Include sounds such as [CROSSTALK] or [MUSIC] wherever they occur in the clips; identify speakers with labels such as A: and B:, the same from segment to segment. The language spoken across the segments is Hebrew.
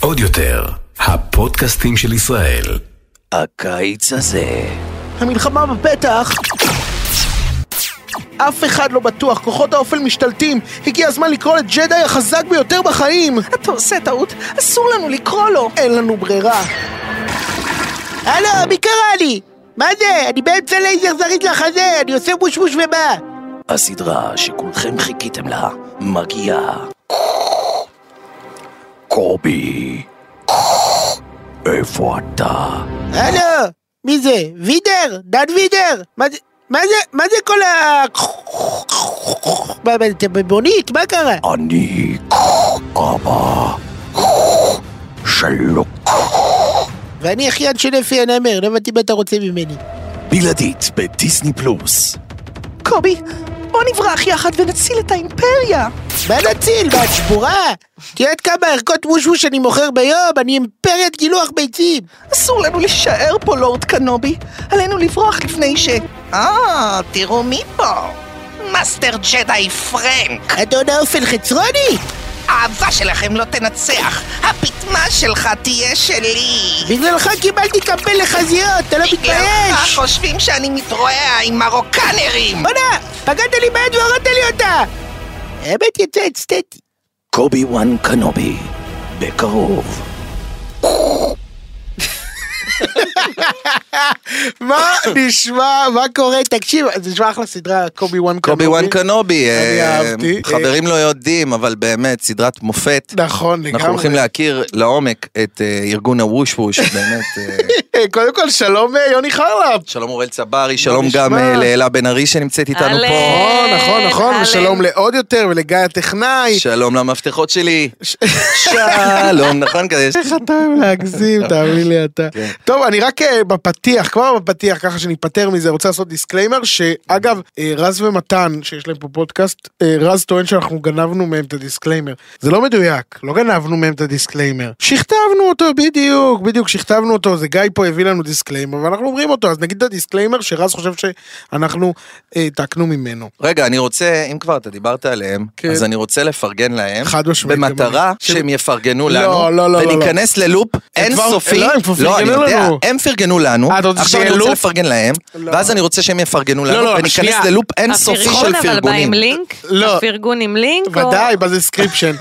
A: עוד יותר, הפודקאסטים של ישראל.
B: הקיץ הזה.
C: המלחמה בפתח! אף אחד לא בטוח, כוחות האופל משתלטים, הגיע הזמן לקרוא לג'די החזק ביותר בחיים!
D: אתה עושה טעות, אסור לנו לקרוא לו!
C: אין לנו ברירה.
E: הלו, מי קרא לי? מה זה? אני באמצע לייזר זריז לחזה, אני עושה בושבוש ובא.
B: הסדרה שכולכם חיכיתם לה מגיעה. קובי, איפה אתה?
E: הלו, מי זה? וידר? דן וידר? מה זה? מה זה, מה זה כל ה... מה, מה, אתם במונית? מה קרה?
B: אני אבא שלו.
E: ואני אחיין של אפי הנמר, לא הבנתי מה אתה רוצה ממני.
B: בלעדית בדיסני פלוס.
D: קובי, בוא נברח יחד ונציל את האימפריה!
E: מה נציל? מה, את שבורה? את יודעת כמה ערכות מושמוש אני מוכר ביום? אני אימפריית גילוח ביצים!
D: אסור לנו להישאר פה, לורד קנובי. עלינו לברוח לפני ש... אה, תראו מי פה. מאסטר ג'די פרנק.
E: אדון האופן חצרוני!
D: האהבה שלכם לא תנצח, הפטמה שלך תהיה שלי.
E: בגללך קיבלתי קמפיין לחזיות, אתה לא
D: בגללך
C: אה,
E: מתבייש!
D: חושבים שאני מתרועע עם מרוקנרים.
E: בוא'נה, פגעת לי ביד והורדת לי אותה! האמת יצאה אצטטי.
B: קובי וואן קנובי, בקרוב.
C: מה נשמע, מה קורה? תקשיב, זה נשמע אחלה סדרה, קובי וואן
F: קובי וואן קנובי,
C: אני
F: אה,
C: אהבתי.
F: חברים לא יודעים, אבל באמת, סדרת מופת.
C: נכון, לגמרי.
F: אנחנו הולכים להכיר לעומק את אה, ארגון הווש ווש, באמת. אה,
C: אה, קודם כל, שלום אה, יוני חרלפ.
F: שלום אוראל צברי, שלום
C: נשמע?
F: גם אה, לאלה בן ארי שנמצאת איתנו פה.
C: נכון, נכון, נכון,
G: אהלן.
C: ושלום לעוד יותר ולגיא הטכנאי.
F: שלום למפתחות שלי.
C: [LAUGHS]
F: שלום, נכון כזה? יש-
C: איך אתה אוהב להגזים, תאמין לי אתה. טוב, אני רק אה, בפתיח, כבר בפתיח, ככה שניפטר מזה, רוצה לעשות דיסקליימר, שאגב, אה, רז ומתן, שיש להם פה פודקאסט, אה, רז טוען שאנחנו גנבנו מהם את הדיסקליימר. זה לא מדויק, לא גנבנו מהם את הדיסקליימר. שכתבנו אותו, בדיוק, בדיוק, שכתבנו אותו, זה גיא פה הביא לנו דיסקליימר, ואנחנו אומרים אותו, אז נגיד את הדיסקליימר שרז חושב שאנחנו אה, העתקנו ממנו.
F: רגע, אני רוצה, אם כבר אתה דיברת עליהם,
C: כן.
F: אז אני רוצה לפרגן להם,
C: חד משמעית,
F: במטרה
C: גם אני.
F: שהם יפרגנו
C: לא,
F: לנו,
C: לא, לא, לא,
F: וניכנס ללופ
C: כבר-
F: אינסופי,
C: לא, הם כבר
F: אני
C: פרגנו
F: יודע,
C: לנו.
F: הם פרגנו לנו,
C: אה, אתה רוצה
F: עכשיו
C: שיהיה
F: אני רוצה
C: לופ?
F: לפרגן להם, ואז אני רוצה שהם יפרגנו
C: לא,
F: לנו,
C: לא,
F: וניכנס
C: שנייה.
F: ללופ אינסופי של
G: הפרגון אבל בא
F: פרגונים.
G: עם לינק?
C: לא.
G: הפרגון עם לינק? או-
C: ודאי, בדסקריפשן.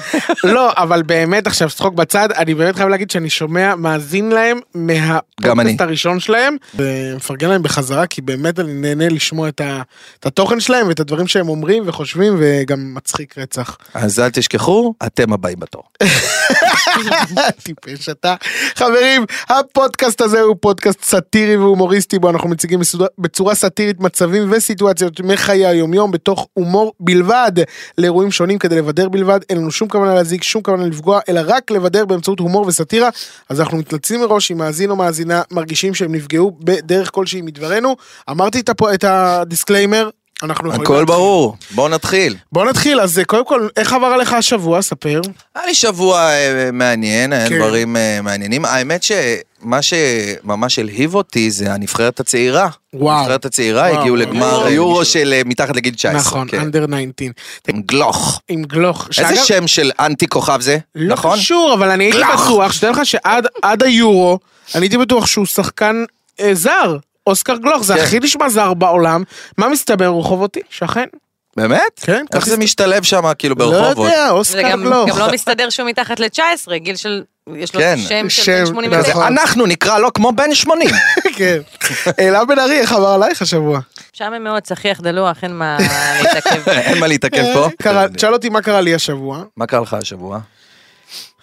C: לא, אבל באמת עכשיו, צחוק בצד, אני באמת חייב להגיד שאני שומע, מאזין להם
F: גם אני.
C: מהפודקאסט הראשון שלהם, ומפרגן להם בחזרה, כי באמת אני נהנה לשמוע את ה- את התוכן שלהם ואת הדברים שהם אומרים וחושבים, וגם מצחיק רצח.
F: אז אל תשכחו, אתם הבאים בתור.
C: [LAUGHS] טיפש אתה. חברים, הפודקאסט הזה הוא פודקאסט סאטירי והומוריסטי, בו אנחנו מציגים מסוד- בצורה סאטירית מצבים וסיטואציות מחיי היומיום בתוך הומור בלבד לאירועים שונים כדי לבדר בלבד. אין לנו שום כוונה להזיק, שום כוונה לפגוע, אלא רק לבדר באמצעות הומור וסאטירה. אז אנחנו מתנצלים מראש אם מאזין או מאזינה מרגישים שהם נפגעו בדרך כלשהי מדברנו. אמרתי את הפו- את הדיסקליימר. אנחנו יכולים
F: הכל
C: להתחיל.
F: ברור, בואו נתחיל.
C: בוא נתחיל, אז אה, קודם כל, איך עבר עליך השבוע? ספר.
F: היה לי שבוע אה, מעניין, היה
C: כן.
F: דברים אה, מעניינים. האמת שמה שממש הלהיב אותי זה הנבחרת הצעירה.
C: וואו.
F: הנבחרת הצעירה
C: וואו. לא
F: הגיעו לגמר
C: וואו.
F: יורו של אה, מתחת לגיל 19.
C: נכון,
F: כן.
C: under 19.
F: עם גלוך.
C: עם גלוך.
F: איזה
C: שאגב-
F: שם של אנטי כוכב זה?
C: לא
F: נכון?
C: קשור, אבל אני הייתי
F: גלח.
C: בטוח, שתדע לך שעד עד היורו, אני הייתי בטוח שהוא שחקן אה, זר. אוסקר גלוך, זה
F: כן.
C: הכי נשמע זר בעולם. מה מסתבר? הוא חובותי, שכן.
F: באמת?
C: כן,
F: איך
C: כרטיס-
F: זה משתלב שם כאילו
C: לא
F: ברחובות?
C: יודע,
G: זה
C: אוסקר
G: גם
C: גלוך.
G: גם לא מסתדר שהוא מתחת ל-19, גיל של... יש לו
F: כן.
G: שם של
C: שם,
G: בן 89.
C: נכון.
F: אנחנו נקרא לו כמו בן
C: [LAUGHS]
F: 80.
C: [LAUGHS] כן. אלה בן ארי, איך עבר עלייך השבוע?
F: אוקיי,
G: משעמם מאוד, צחיח דלוח, אין מה [LAUGHS]
F: [LAUGHS] [LAUGHS]
G: להתעכב.
F: אין מה להתעכב פה.
C: אה,
F: כן.
C: קרה- תשאל אותי מה קרה לי השבוע.
F: מה קרה לך השבוע?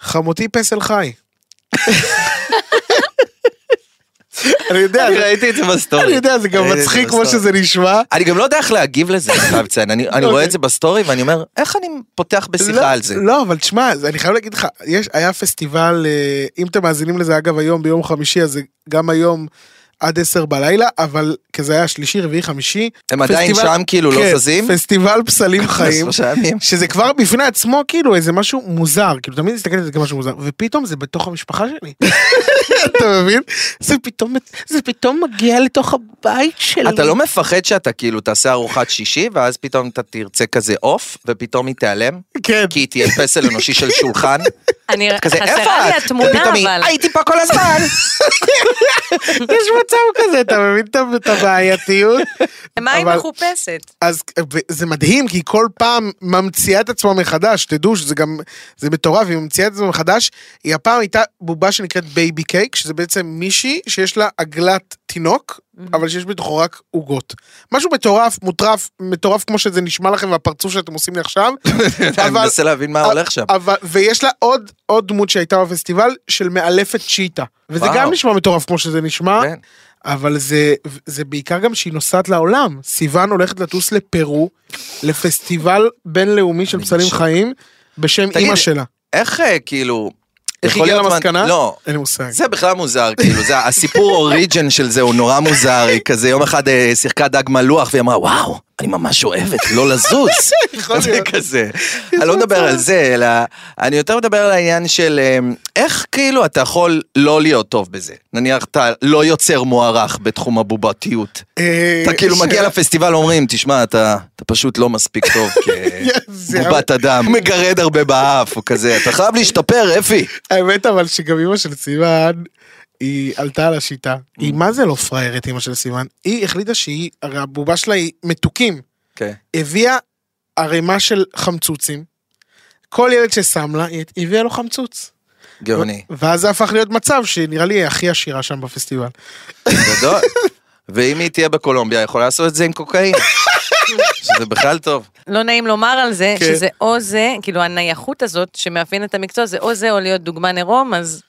C: חמותי פסל
F: אה,
C: חי. אני יודע,
F: אני
C: זה-
F: ראיתי את זה בסטורי.
C: אני יודע, זה גם
F: ראיתי את
C: מצחיק כמו
F: בסטורי.
C: שזה נשמע.
F: אני גם לא יודע איך להגיב
H: [LAUGHS]
F: לזה, אני חייב לציין. אני אני
H: אוקיי.
F: רואה את זה בסטורי ואני אומר, איך אני פותח
C: לא,
F: בשיחה על זה?
C: לא, אבל תשמע, זה- אני חייב להגיד לך, יש, היה פסטיבל, אה, אם אתם מאזינים לזה, אגב, היום, ביום חמישי, אז זה גם היום
H: עד עשר בלילה, אבל כי זה היה שלישי, רביעי, חמישי.
F: הם עדיין
H: פסטיבל-
F: שם, כאילו, לא
H: כן,
F: זזים?
H: פסטיבל
F: [LAUGHS]
H: פסלים חיים.
F: שלושה ימים.
H: [LAUGHS] שזה כבר בפני עצמו כאילו איזה משהו מוזר, כאילו תמיד מסתכל על זה כמשהו מוזר, ופתאום זה בתוך המשפחה
F: [LAUGHS]
H: שלי. אתה מבין? זה פתאום, זה פתאום מגיע לתוך הבית שלי.
F: אתה לא מפחד שאתה כאילו תעשה ארוחת שישי, ואז פתאום אתה תרצה כזה עוף, ופתאום היא תיעלם?
H: כן.
F: כי היא תהיה פסל אנושי של שולחן?
H: [LAUGHS]
G: אני,
F: כזה,
G: חסרה לי
F: איפה את?
G: התמונה,
F: ופתאום היא,
G: אבל...
F: הייתי פה כל
H: [LAUGHS]
F: הזמן!
H: יש מצב כזה, אתה מבין את ה- את הבעייתיות?
G: מה היא
H: אבל-
G: מחופשת?
H: אז ו- זה מדהים, כי היא כל פעם ממציאה את עצמה מחדש, תדעו שזה גם, זה מטורף, היא ממציאה את עצמה מחדש. היא הפעם הייתה בובה שנקראת בייבי קייק, שזה בעצם מישהי שיש לה עגלת תינוק, אבל שיש בתוכו רק עוגות. משהו מטורף, מוטרף, מטורף כמו שזה נשמע לכם והפרצוף שאתם עושים לי עכשיו.
F: [LAUGHS] אני מנסה להבין מה הולך שם.
H: אבל, ויש לה עוד, עוד דמות שהייתה בפסטיבל של מאלפת צ'יטה. וזה
F: וואו.
H: גם נשמע מטורף כמו שזה נשמע,
F: כן.
H: אבל זה, זה בעיקר גם שהיא נוסעת לעולם. סיוון הולכת לטוס לפרו, לפסטיבל בינלאומי של
F: אני
H: פסלים
F: בשוק.
H: חיים, בשם
F: תגיד,
H: אימא שלה.
F: איך אה, כאילו...
H: איך
F: יכול
H: הגיעה
F: להיות מה-
H: למסקנה?
F: לא.
H: אין לי מושג.
F: זה בכלל מוזר, כאילו, זה הסיפור אוריג'ן של זה הוא נורא מוזר, היא כזה יום אחד אה, שיחקה דג מלוח והיא אמרה, וואו, אני ממש אוהבת לא
H: [LAUGHS]
F: לזוז. זה כזה. אני לא מדבר על זה, אלא אני יותר מדבר על העניין של אה, איך כאילו אתה יכול לא להיות טוב בזה. נניח אתה לא יוצר מוערך בתחום הבובתיות.
H: אה,
F: אתה כאילו
H: ש-
F: מגיע לפסטיבל, אומרים, תשמע, אתה אתה פשוט לא מספיק
H: [LAUGHS]
F: טוב
H: זה-
F: כבובת אדם, מגרד הרבה באף, או כזה, אתה חייב להשתפר, אפי.
H: האמת אבל שגם אימא של סיוון, היא עלתה על השיטה.
F: Mm.
H: היא מה זה לא פראיירת אימא של סיוון? היא החליטה שהיא, הרי הבובה שלה היא מתוקים.
F: כן.
H: הביאה ערימה של חמצוצים. כל ילד ששם לה, היא הביאה לו חמצוץ.
F: גאוני.
H: ואז זה הפך להיות מצב שנראה לי היא הכי עשירה שם בפסטיבל.
F: גדול. ואם היא תהיה בקולומביה, יכולה לעשות את זה עם קוקאין. שזה בכלל טוב.
G: לא נעים לומר על זה,
H: כן.
G: שזה או זה, כאילו הנייחות הזאת שמאפיינת את המקצוע, זה או זה או להיות דוגמן עירום, אז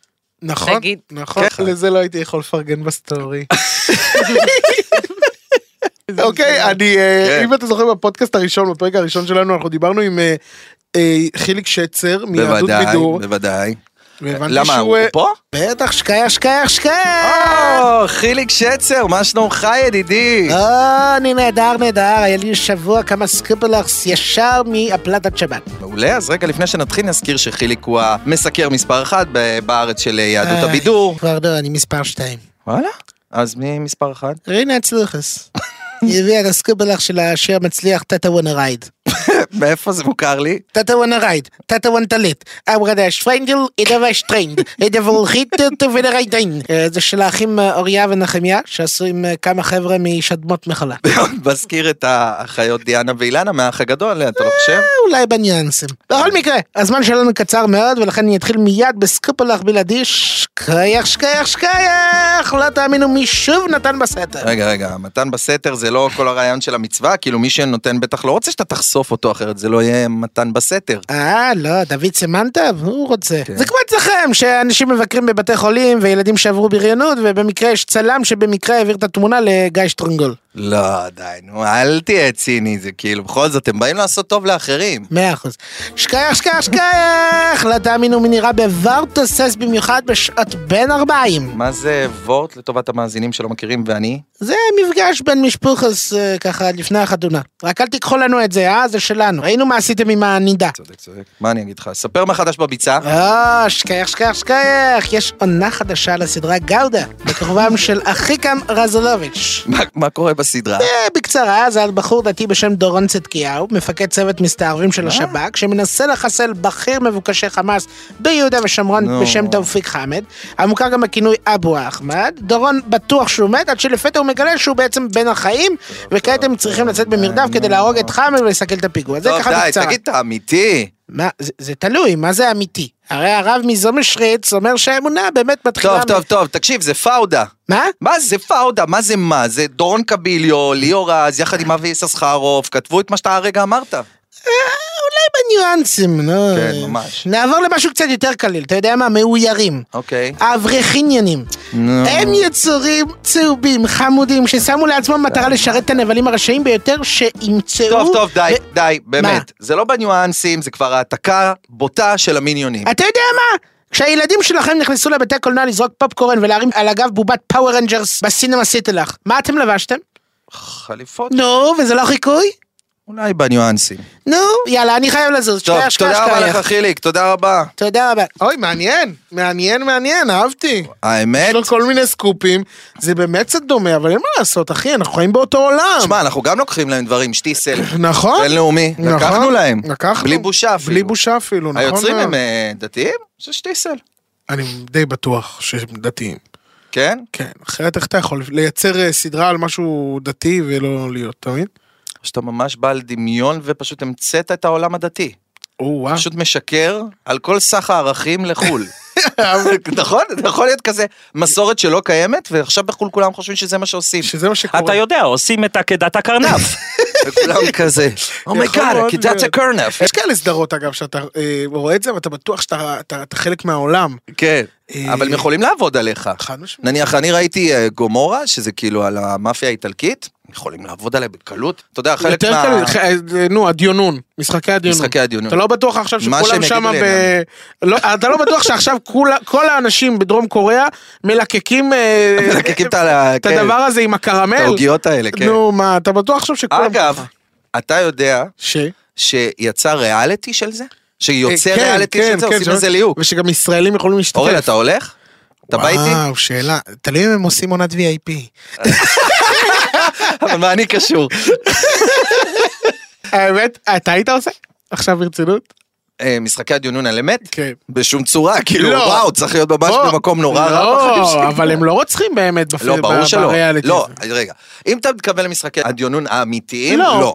H: נכון,
G: תגיד.
H: נכון,
F: כן.
H: לזה לא הייתי יכול לפרגן בסטורי. אוקיי, אני, אה,
F: כן.
H: אם אתה זוכר בפודקאסט הראשון, בפרק הראשון שלנו, אנחנו דיברנו עם אה, אה, חיליק שצר מיהדות
F: בוודאי,
H: בידור.
F: בוודאי.
H: והבנתי
F: למה,
H: שהוא,
F: הוא
H: אה,
F: פה? אה!
C: בטח, שקיה, שקיה, שקיה!
F: או, חיליק שצר, מה שלומך ידידי?
C: אה, אני נהדר, נהדר, היה לי שבוע כמה סקופלרס ישר מהפלטת שבת.
F: מעולה, אז רגע לפני שנתחיל נזכיר שחיליק הוא המסקר מספר אחת ב- בארץ של אה, יהדות
C: אה,
F: הבידור.
C: כבר לא, אני מספר שתיים.
F: וואלה, אז מי מספר אחת?
C: רינה
H: [LAUGHS]
C: אצלוחס. היא הביאה את הסקופלר של השיר המצליח טאטה וואנה רייד.
F: מאיפה זה מוכר לי?
C: טאטה וואנה רייד, טאטה וואנה טלט. אמרה דה שפרנדל, אידה ושטרנד. אידה וולחית טובינה ריידן. אה, זה של האחים אה, אוריה ונחמיה, שעשו עם אה, כמה חבר'ה משדמות מחלה.
F: [LAUGHS]
C: אה,
F: מזכיר את האחיות דיאנה ואילנה מהאח הגדול, אתה לא חושב?
C: אולי בניואנסים. בכל מקרה, הזמן שלנו קצר מאוד, ולכן אני אתחיל מיד בסקופלך בלעדי. שקייח, שקייח, שקייח! לא תאמינו מי שוב נתן בסתר.
F: רגע, רגע, מתן בסתר זה לא כל הרעיון של המצווה, כאילו מי שנותן בטח לא רוצה שאתה תחשוף אותו אחרת, זה לא יהיה מתן בסתר.
C: אה, לא, דוד סימנטוב, הוא רוצה.
F: כן.
C: זה כמו אצלכם, שאנשים מבקרים בבתי חולים וילדים שעברו בריונות, ובמקרה יש צלם שבמקרה העביר את התמונה לגיא שטרנגול.
F: לא, די, נו, אל תהיה ציני, זה כאילו, בכל זאת, הם באים לעשות טוב לאחרים.
C: מאה אחוז. שקייח, שקייח, שקייח! לא תאמינו מי נראה בבר תוסס במיוחד בשעות בין ארבעים.
F: מה זה וורט לטובת המאזינים שלא מכירים ואני?
C: זה מפגש בין משפוחס אה, ככה לפני החתונה. רק אל תיקחו לנו את זה, אה? זה שלנו. ראינו מה עשיתם עם הנידה.
F: צודק, צודק. מה אני אגיד לך? ספר מחדש בביצה.
C: אה, שקייח, שקייח, שקייח! יש עונה חדשה לסדרה גאודה, בכוכבם של אחיקם רזולוביץ'.
F: מה- מה קורה בסדרה?
C: אה, בקצרה, זה על בחור דתי בשם דורון צדקיהו, מפקד צוות מסתערבים של השב"כ, שמנסה לחסל בכיר מבוקשי חמאס ביהודה ושומרון
F: נו.
C: בשם תאופיק חמד, המוכר גם בכינוי אבו אחמד. דורון בטוח שהוא מת, עד שלפתע הוא מגלה שהוא בעצם בין החיים, וכעת הם צריכים לצאת במרדף כדי להרוג את חמד ולסכל את הפיגוע. זה
F: אה, טוב,
C: ככה
F: די,
C: בקצרה.
F: תגיד, אתה אמיתי.
C: מה, זה- זה תלוי, מה זה אמיתי? הרי הרב מזומשריץ אומר שהאמונה באמת מתחילה...
F: טוב,
C: מ-
F: טוב, טוב, תקשיב, זה פאודה.
C: מה?
F: מה זה פאודה? מה זה מה? זה דורון קביליו, ליאור רז, יחד עם אבי יששכרוף, כתבו את מה שאתה הרגע אמרת.
C: אה, בניואנסים, נו.
F: כן, ממש.
C: נעבור למשהו קצת יותר קליל, אתה יודע מה? מאוירים.
F: אוקיי.
C: האברכיניינים.
F: נו.
C: הם יצורים צהובים, חמודים, ששמו לעצמם מטרה לשרת את הנבלים הרשעים ביותר שימצאו...
F: כן. טוב, טוב, די,
C: ו-
F: די,
C: מה?
F: באמת. זה לא בניואנסים, זה כבר העתקה בוטה של המיניונים.
C: אתה יודע מה? כשהילדים שלכם נכנסו לבתי קולנוע לזרוק פופקורן ולהרים על הגב בובת פאוור רנג'רס בסינמה סיטלח, מה אתם לבשתם?
F: חליפות?
C: נו, וזה לא חיקוי?
F: אולי בניואנסים.
C: נו, יאללה, אני חייב לזוז.
F: טוב,
C: שתי השקעה,
F: תודה
C: שתי
F: רבה לך
C: יח.
F: חיליק, תודה רבה.
C: תודה רבה.
H: אוי, מעניין, מעניין, מעניין, אהבתי. יש
F: האמת?
H: לו כל מיני סקופים, זה באמת קצת דומה, אבל אין מה לעשות, אחי, אנחנו חיים באותו עולם.
F: שמע, אנחנו גם לוקחים להם דברים, שטיסל.
H: נכון.
F: בינלאומי.
H: נכון,
F: לקחנו להם.
H: לקחנו.
F: בלי בושה אפילו.
H: בלי בושה אפילו, נכון?
F: היוצרים
H: מאוד.
F: הם אה, דתיים? זה שטיסל.
H: אני די בטוח שהם דתיים.
F: כן?
H: כן, אחרת איך אתה יכול לייצר אה, סדרה על משהו דתי ולא להיות, אתה מבין?
F: שאתה ממש בעל דמיון ופשוט המצאת את העולם הדתי.
H: או וואו.
F: פשוט משקר על כל סך הערכים לחו"ל. נכון? זה יכול להיות כזה מסורת שלא קיימת, ועכשיו בחו"ל כולם חושבים שזה מה שעושים.
H: [LAUGHS] שזה מה שקורה.
I: אתה יודע, עושים את עקדת
H: [LAUGHS]
I: הקרנף. נכון,
F: וכולם כזה,
H: "Oh יכול
F: אומייגאד,
H: מאוד
F: כיתת
H: להיות.
F: הקרנף.
H: יש כאלה סדרות אגב שאתה אה, רואה את זה ואתה בטוח שאתה אתה- אתה חלק מהעולם.
F: כן,
H: אה,
F: אבל הם יכולים לעבוד עליך.
H: חד משמעית.
F: נניח, אני ראיתי אה, גומורה, שזה כאילו על המאפיה האיטלקית, יכולים לעבוד עליה בקלות. אתה יודע, חלק
H: יותר
F: מה...
H: קל, ח- אה, נו, הדיונון, משחקי הדיונון.
F: משחקי הדיונון.
H: אתה לא בטוח עכשיו
F: מה שהם
H: שכולם
F: יגידו
H: שם
F: לי,
H: ב... לא, אתה לא בטוח שעכשיו כולה- כל האנשים בדרום קוריאה מלקקים אה,
F: מלקקים את ה- כן.
H: את הדבר הזה עם הקרמל.
F: את העוגיות האלה, כן.
H: נו, מה, אתה בטוח עכשיו שכולם...
F: אגב, אתה יודע
H: ש...
F: שיצא ריאליטי של זה? שיוצא
H: אה, כן,
F: ריאליטי
H: כן,
F: של זה,
H: כן,
F: עושים
H: שלא-
F: לזה ליהוק.
H: ושגם ישראלים יכולים להשתתף.
F: אורן, אתה הולך? אתה בא איתי?
H: וואו, שאלה. תלוי אם הם עושים עונת VIP.
F: אבל מה אני קשור?
H: האמת, אתה היית עושה? עכשיו ברצינות?
F: אה, משחקי הדיונון על אמת?
H: כן.
F: בשום צורה, כאילו,
H: לא.
F: וואו, צריך להיות ממש
H: בוא.
F: במקום נורא רע בחיים שלי.
H: לא, אבל הם לא רוצחים באמת בפ-
F: לא, ברור
H: ב-
F: שלא.
H: בריאליטי
F: לא,
H: הזה.
F: רגע. אם אתה מתכוון למשחקי הדיונון האמיתיים,
H: לא.
F: לא.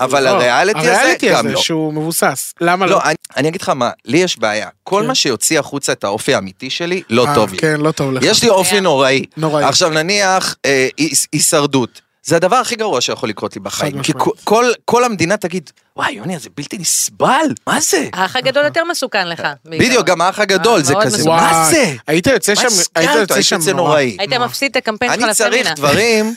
F: אבל
H: לא,
F: הריאליטי הזה, גם לא.
H: שהוא מבוסס. למה
F: לא,
H: לא?
F: אני- אני אגיד לך מה, לי יש בעיה. כל
H: כן.
F: מה שיוציא החוצה את האופי האמיתי שלי, לא
H: אה,
F: טוב לי.
H: כן, לא טוב לך.
F: יש לי אופי נוראי.
H: נוראי.
F: עכשיו נניח אה, היש- הישרדות. זה הדבר הכי גרוע שיכול לקרות לי בחיים. כי
H: משמעית.
F: כל- כל- כל המדינה תגיד, וואי, יוני, זה בלתי נסבל, מה זה?
G: האח הגדול יותר מסוכן לך. בעיקרון.
F: נכון. בדיוק, גם האח הגדול,
G: אה,
F: זה
G: מאוד
F: כזה,
G: מסוכן.
F: מה
H: וואי,
F: זה?
H: היית יוצא
F: מה
H: שם, היית
F: הסגרת?
H: יוצא שם
F: יוצא
H: נורא. כן.
F: נוראי.
G: היית מפסיד את הקמפיין שלך
F: אני צריך
G: לפמינה.
H: [LAUGHS]
F: דברים,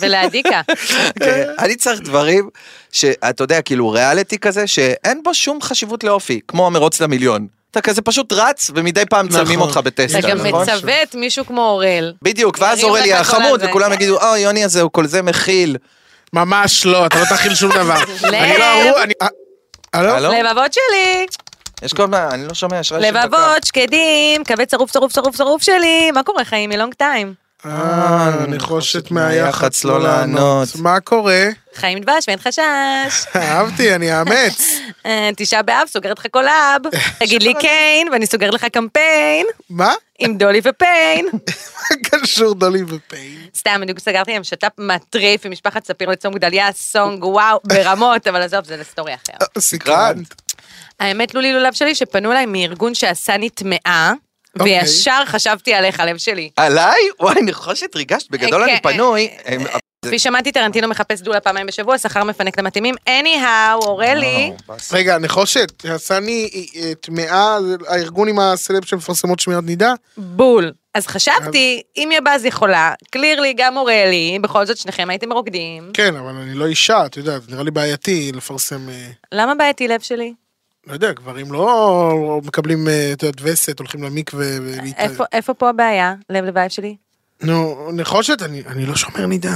G: ולאדיקה.
F: [LAUGHS] כן, אני צריך דברים שאתה יודע, כאילו ריאליטי כזה, שאין בו שום חשיבות לאופי, כמו המרוץ למיליון. אתה כזה פשוט רץ, ומדי פעם צמים
H: נכון.
F: אותך
G: אתה
F: בטסטה,
G: גם
F: נכון?
G: מצוות מישהו כמו אורל.
F: בדיוק, ואז
G: מרים
F: אורל
G: לך
F: יהיה
G: כל
F: החמוד,
G: הזה. כן.
F: וכולם יגידו, אוי, יוני הזה, הוא כל זה מכיל.
H: ממש לא, אתה לא תאכיל שום דבר.
F: [LAUGHS]
H: אני לא
G: לב.
H: ארור, אני... אה, הלו?
F: הלו?
G: לבבות שלי,
F: יש כל מה, אני לא שומע, יש רעש של דקה.
G: לבבות, שקדים, קווי צרוף, צרוף, צרוף, צרוף שלי. מה קורה חיים מלונג טיים?
H: אה, נחושת מהיח"צ לא לענות. מה קורה? [LAUGHS]
G: חיים דבש ואין חשש.
H: אהבתי, אני אאמץ.
G: אה, תשעה באב, סוגרת לך קולאב. תגיד לי קיין, ואני סוגרת לך קמפיין.
H: מה? [LAUGHS]
G: עם דולי ופיין.
H: קשור דולי ופיין.
G: סתם, בדיוק סגרתי להם שת"פ מטריף עם משפחת ספיר לצום גדליה, סונג, וואו, ברמות, אבל עזוב, זה לסטורי אחר.
H: סקרנט.
G: האמת, לולי לולב שלי, שפנו אליי מארגון שעשה נטמעה,
H: אוקיי.
G: וישר חשבתי עליך, לב שלי.
F: עליי? וואי, נחושת, ריגשת, בגדול
G: אה,
F: אני
G: כן,
F: פנוי.
G: אה,
F: אה,
G: כפי שמעתי, טרנטינו מחפש דולה פעמיים בשבוע, שכר מפנק למתאימים. anyhow, אורלי,
H: רגע, נחושת, עשני אה, אה, טמאה, זה הארגון עם הסלב שמפרסמות שמירת נידה?
G: בול. אז חשבתי, אם יבז יכולה, קלירלי גם אורלי, בכל זאת שניכם הייתם רוקדים.
H: כן, אבל אני לא אישה, אתה יודע, זה נראה לי בעייתי לפרסם... אה,
G: למה בעייתי לב שלי?
H: לא יודע, גברים לא מקבלים, אה, את יודעת, וסת, הולכים למקווה ולהתאר.
G: איפה- איפה פה הבעיה, לב לבייב שלי?
H: נו, נחושת, אני אני לא שומר נידה.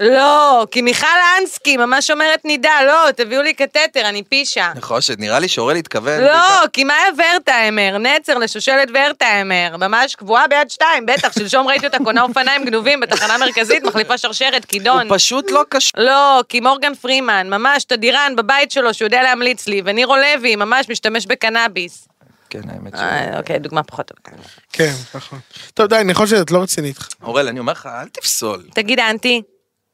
G: לא, כי מיכל אנסקי ממש אומרת נידה, לא, תביאו לי קטטר, אני פישה.
F: נחושת, נראה לי שאורל התכוון. בעיקר-
G: לא, כי מה היה ורטהיימר? נצר לשושלת ורטהיימר. ממש קבועה ביד שתיים, בטח, שלשום ראיתי אותה קונה אופניים גנובים בתחנה מרכזית, מחליפה שרשרת, כידון.
F: הוא פשוט לא קשור.
G: לא, כי מורגן פרימן, ממש תדירן בבית שלו שהוא יודע להמליץ לי, ונירו לוי ממש משתמש בקנאביס.
F: כן, האמת ש...
G: אה, אוקיי, דוגמה פחות טובה.
H: כן, נכון. טוב, די, נחושת, את לא רצינית.
F: אורל, אני אומר לך, אל תפסול.
G: תגיד אנטי,